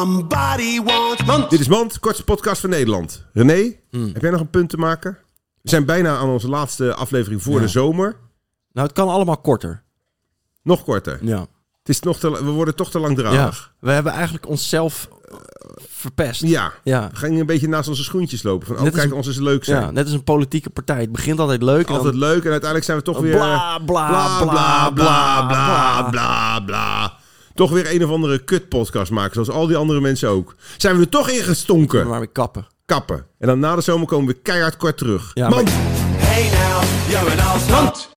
Somebody wants Want Dit is Mand, kortste podcast van Nederland. René, Hmm. heb jij nog een punt te maken? We zijn bijna aan onze laatste aflevering voor de zomer. Nou, het kan allemaal korter. Nog korter. Ja. Het is nog te, la- we worden toch te ja. langdradig. We hebben eigenlijk onszelf eh, verpest. Ja. Ja. We gingen een beetje naast onze schoentjes lopen. Van, oh, Net als- kijk, ons is leuk zijn. Ja, net als een politieke partij. Het begint altijd leuk. en Altijd leuk en uiteindelijk zijn we toch weer... Bla, bla, bla, bla, bla, bla, bla, bla. bla, bla. Toch weer een of andere kutpodcast maken, zoals al die andere mensen ook. Zijn we er toch in dan gestonken? maar weer kappen. Kappen. En dan na de zomer komen we keihard kort terug. Ja, Mand! maar- Hey now, you're an Osmond.